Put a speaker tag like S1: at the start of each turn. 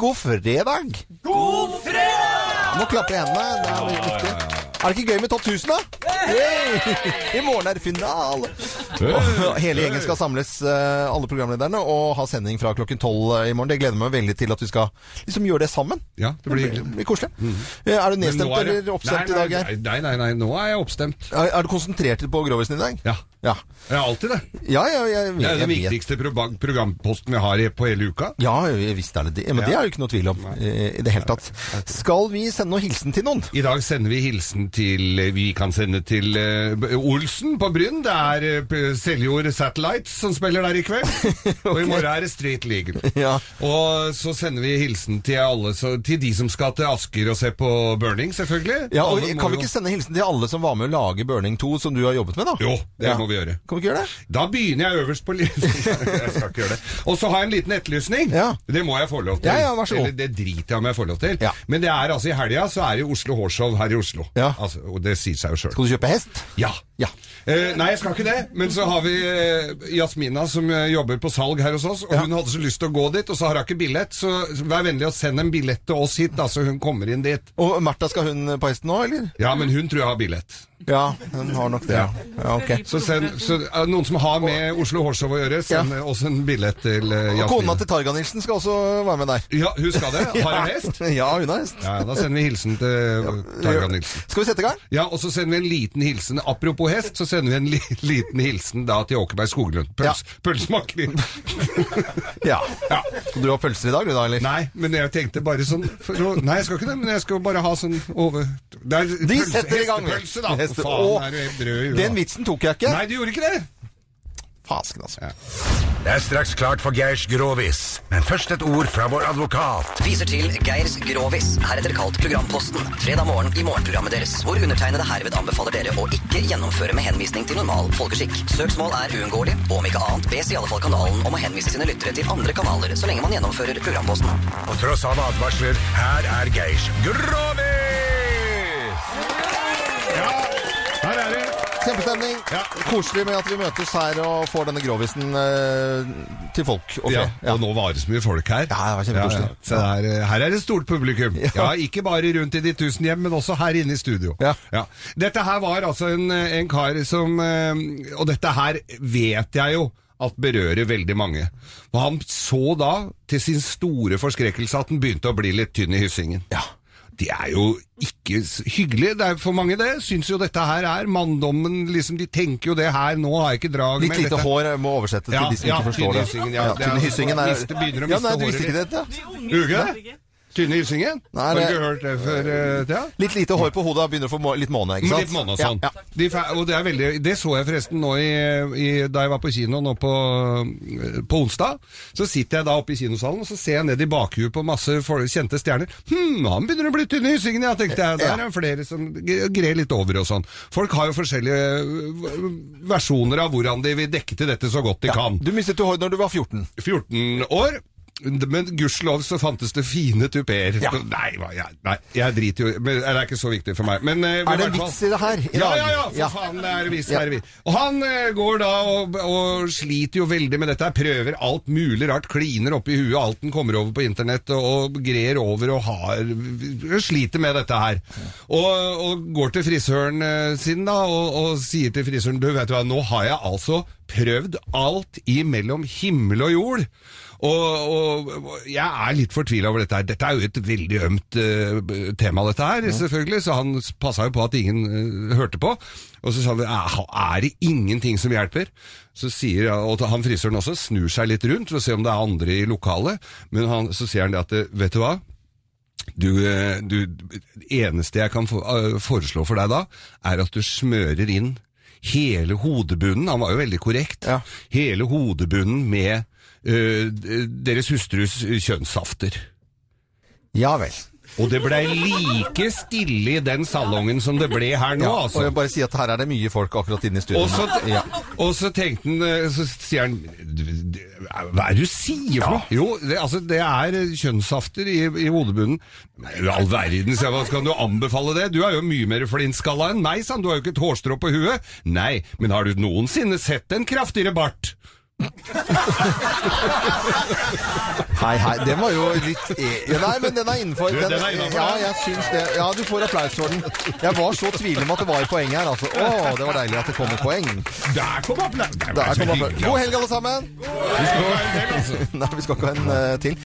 S1: god fredag!
S2: God fredag!
S1: Nå klapper jeg hendene. Det er veldig viktig. Er det ikke gøy med Topp 1000, da? Yay! I morgen er det finale! Og hele gjengen skal samles, eh, alle programlederne, og ha sending fra klokken tolv i morgen. Det gleder meg veldig til at vi skal liksom gjøre det sammen.
S3: Ja, det blir hyggelig.
S1: Det blir koselig. Eh, Er du
S3: Mm. Men nå
S1: nedstemt
S3: er jeg-
S1: eller oppstemt
S3: nei,
S1: i dag,
S3: nei,
S1: Geir?
S3: Nei, nei, nei, nå er jeg oppstemt.
S1: Er, er du konsentrert på grovisen i dag?
S3: Ja.
S1: Ja,
S3: Jeg er alltid det.
S1: ja, ja, jeg,
S3: Det er
S1: jeg,
S3: den
S1: vet.
S3: viktigste pro- programposten vi har i- på hele uka.
S1: Ja, jeg visste er det det. Men
S3: Ja.
S1: det er jo ikke noe tvil om eh, i det hele tatt. Skal vi sende noe hilsen til noen?
S3: I dag sender vi hilsen til eh, Vi kan sende til eh, B- Olsen på Bryn. Det er eh, P- Seljord Satellites som spiller der i kveld. Og i morgen er det Street Legal.
S1: Ja.
S3: Og så sender vi hilsen til alle så, Til de som skal til Asker og se på Burning, selvfølgelig.
S1: Ja, og
S3: Alle må
S1: Kan vi
S3: jo-
S1: ikke sende hilsen til alle som var med å lage Burning 2, som du har jobbet med? da?
S3: Jo, det må vi gjøre.
S1: Kan vi ikke gjøre det?
S3: Da begynner jeg øverst på listen. Jeg skal ikke gjøre det. Og så har jeg en liten etterlysning.
S1: Ja.
S3: Det må jeg få lov til.
S1: Ja, ja, vær så god.
S3: Eller det driter jeg om jeg får lov til.
S1: Ja.
S3: Men det er altså i helga så er det Oslo Hårshow her i Oslo.
S1: Ja.
S3: Altså, og det sier seg jo sjøl.
S1: Skal du kjøpe hest?
S3: Ja.
S1: Ja.
S3: Eh, nei, jeg skal ikke det. Men så har vi eh, Jasmina som eh, jobber på salg her hos oss. Og hun hadde så lyst til å gå dit, og så har hun ikke billett. Så vær vennlig og send en billett til oss hit, da, så hun kommer inn dit.
S1: Og Märtha, skal hun eh, på hesten nå, eller?
S3: Ja, men hun tror jeg har billett.
S1: Ja, hun har nok det. Ja, ja ok.
S3: Så, send, så eh, noen som har med Oslo Hårshow å gjøre, send eh, oss en billett til eh,
S1: Og
S3: Jasmina.
S1: kona til Targa Nilsen skal også være med der.
S3: Ja, hun skal det. Har en hest?
S1: Ja, hun har hest.
S3: Ja, Da sender vi hilsen til Targa Nilsen.
S1: Skal vi sette i gang?
S3: Ja, og så sender vi en liten hilsen Apropos hest, så sender vi en li liten hilsen da til Åkeberg Skoglund. Pøls, Pølsemaker.
S1: Ja.
S3: Ja.
S1: Skal du ha pølser i dag, du da, eller?
S3: Nei, men jeg tenkte bare sånn for å, Nei, jeg skal ikke det, men jeg skal bare ha sånn over det er
S1: De
S3: pølse-
S1: setter i gang.
S3: Hestepølse, da.
S1: Heste-
S3: Faen,
S1: Å,
S3: er du helt brød i huet,
S1: Den
S3: da.
S1: vitsen tok jeg ikke.
S3: Nei, du gjorde ikke det!
S1: Fasken, altså.
S4: Det er straks klart for Geirs grovis, men først et ord fra vår advokat.
S5: Viser til Geirs Grovis, heretter kalt Programposten. Fredag morgen i morgenprogrammet deres, hvor undertegnede herved anbefaler dere å ikke gjennomføre med henvisning til normal folkeskikk. Søksmål er uunngåelig, og om ikke annet bes i alle fall kanalen om å henvise sine lyttere til andre kanaler så lenge man gjennomfører Programposten.
S4: På tross av advarsler, her er Geirs grovis!
S3: Ja, her er det.
S1: Kjempestemning.
S3: Ja.
S1: Koselig med at vi møtes her og får denne grovisen eh, til folk. og
S3: Ja,
S1: fe.
S3: og nå var det så mye folk her.
S1: Ja, det var kjempekoselig.
S3: Så det er, eh, her er det stort publikum. Ja. Ikke bare rundt i de tusen hjem, men også her inne i studio.
S1: Ja.
S3: Dette her var altså en, eh, en kar som eh, Og dette her vet jeg jo at berører veldig mange. Og han så da, til sin store forskrekkelse, at den begynte å bli litt tynn i hyssingen. Det er jo ikke s- hyggelig. Det er for mange, det. Syns jo dette her er manndommen. liksom, De tenker jo det her, nå har jeg ikke drag
S1: Litt lite
S3: dette.
S1: hår må oversettes til de som ikke forstår det.
S3: Tynne hyssingen, ja. Det er-
S1: tynne hyssingen er
S3: miste- begynner å
S1: Ja,
S3: miste
S1: nei, du
S3: håret
S1: visste ikke
S3: litt.
S1: dette? ja.
S3: Uke? Tynne hyssingen?
S1: Nei,
S3: Har du
S1: det-
S3: ikke hørt det før, eh, Thea?
S1: Litt lite hår på hodet begynner å få må litt måne, ikke sant?
S3: Litt måned og sånn.
S1: Ja, ja.
S3: De fe- og det, er veldig, det så jeg forresten nå i, i, da jeg var på kino nå på, på onsdag. Så sitter jeg da oppe i kinosalen og så ser jeg ned i bakhuet på masse for, kjente stjerner. Hm, han begynner å bli tynn i hyssingen, ja, tenkte jeg. Der
S1: Ja.
S3: er det flere som g- grer litt over og sånn. Folk har jo forskjellige øh, versjoner av hvordan de vil dekke til dette så godt de kan.
S1: Du mistet jo hår når du var 14.
S3: 14 år. Men gudskjelov så fantes det fine tupeer. Nei, hva, jeg, nei, jeg driter jo men Det er ikke så viktig for meg. Men, eh,
S1: Er det
S3: hvert
S1: en
S3: fall-
S1: vits i det her? I
S3: Ja,
S1: dag?
S3: ja, ja, for
S1: Ja.
S3: faen, det er visst,
S1: Ja.
S3: det er visst. Og han eh, går da og, og sliter jo veldig med dette, her, prøver alt mulig rart, kliner oppi huet, alt den kommer over på internett og, og grer over og har, sliter med dette her. Og, og går til frisøren eh, sin da, og, og sier til frisøren, du vet du hva, nå har jeg altså prøvd alt imellom himmel og jord. Og, og, og jeg er litt fortvila over dette her. Dette er jo et veldig ømt eh, tema, dette her, selvfølgelig, så han passa jo på at ingen eh, hørte på. Og så sa han er er det ingenting som hjelper? Så sier han- og han frisøren også, snur seg litt rundt for å se om det er andre i lokalet, men han, så sier han det at vet du hva? Du, eh, du, eneste jeg kan for, eh, foreslå for deg da, er at du smører inn hele hodebunnen, han var jo veldig korrekt,
S1: Ja.
S3: hele hodebunnen med eh, d- deres hustrus kjønnssafter.
S1: Ja vel.
S3: Og det blei like stille i den salongen som det ble her nå,
S1: Ja, og
S3: altså.
S1: jeg bare sier at her er det mye folk akkurat inne i studio.
S3: Og så,
S1: nå. ja.
S3: og så tenkte han eh, Så sier han "Du- du- Hva er det du sier for noe? Jo, det, altså, det er kjønnssafter i, i hodebunnen. Nei, I all verden, sier jeg, hva skal du anbefale det? Du er jo mye mer flintskalla enn meg, sa han. Du har jo ikke et hårstrå på huet. Nei, men har du noensinne sett en kraftigere bart?
S1: Hei, hei. Den var jo litt e- ja, Nei, men den er innenfor.
S3: Du, den er innenfor,
S1: ja,
S3: ja.
S1: jeg syns det. Ja, du får applaus for den. Jeg var så tvilende om at det var et poeng her, altså. Å, det var deilig at det kom et poeng.
S3: Der kom applaus! altså.
S1: Der kom applaus. God helg, alle sammen.
S3: God helg!
S1: Nei, vi skal ikke ha en eh, til.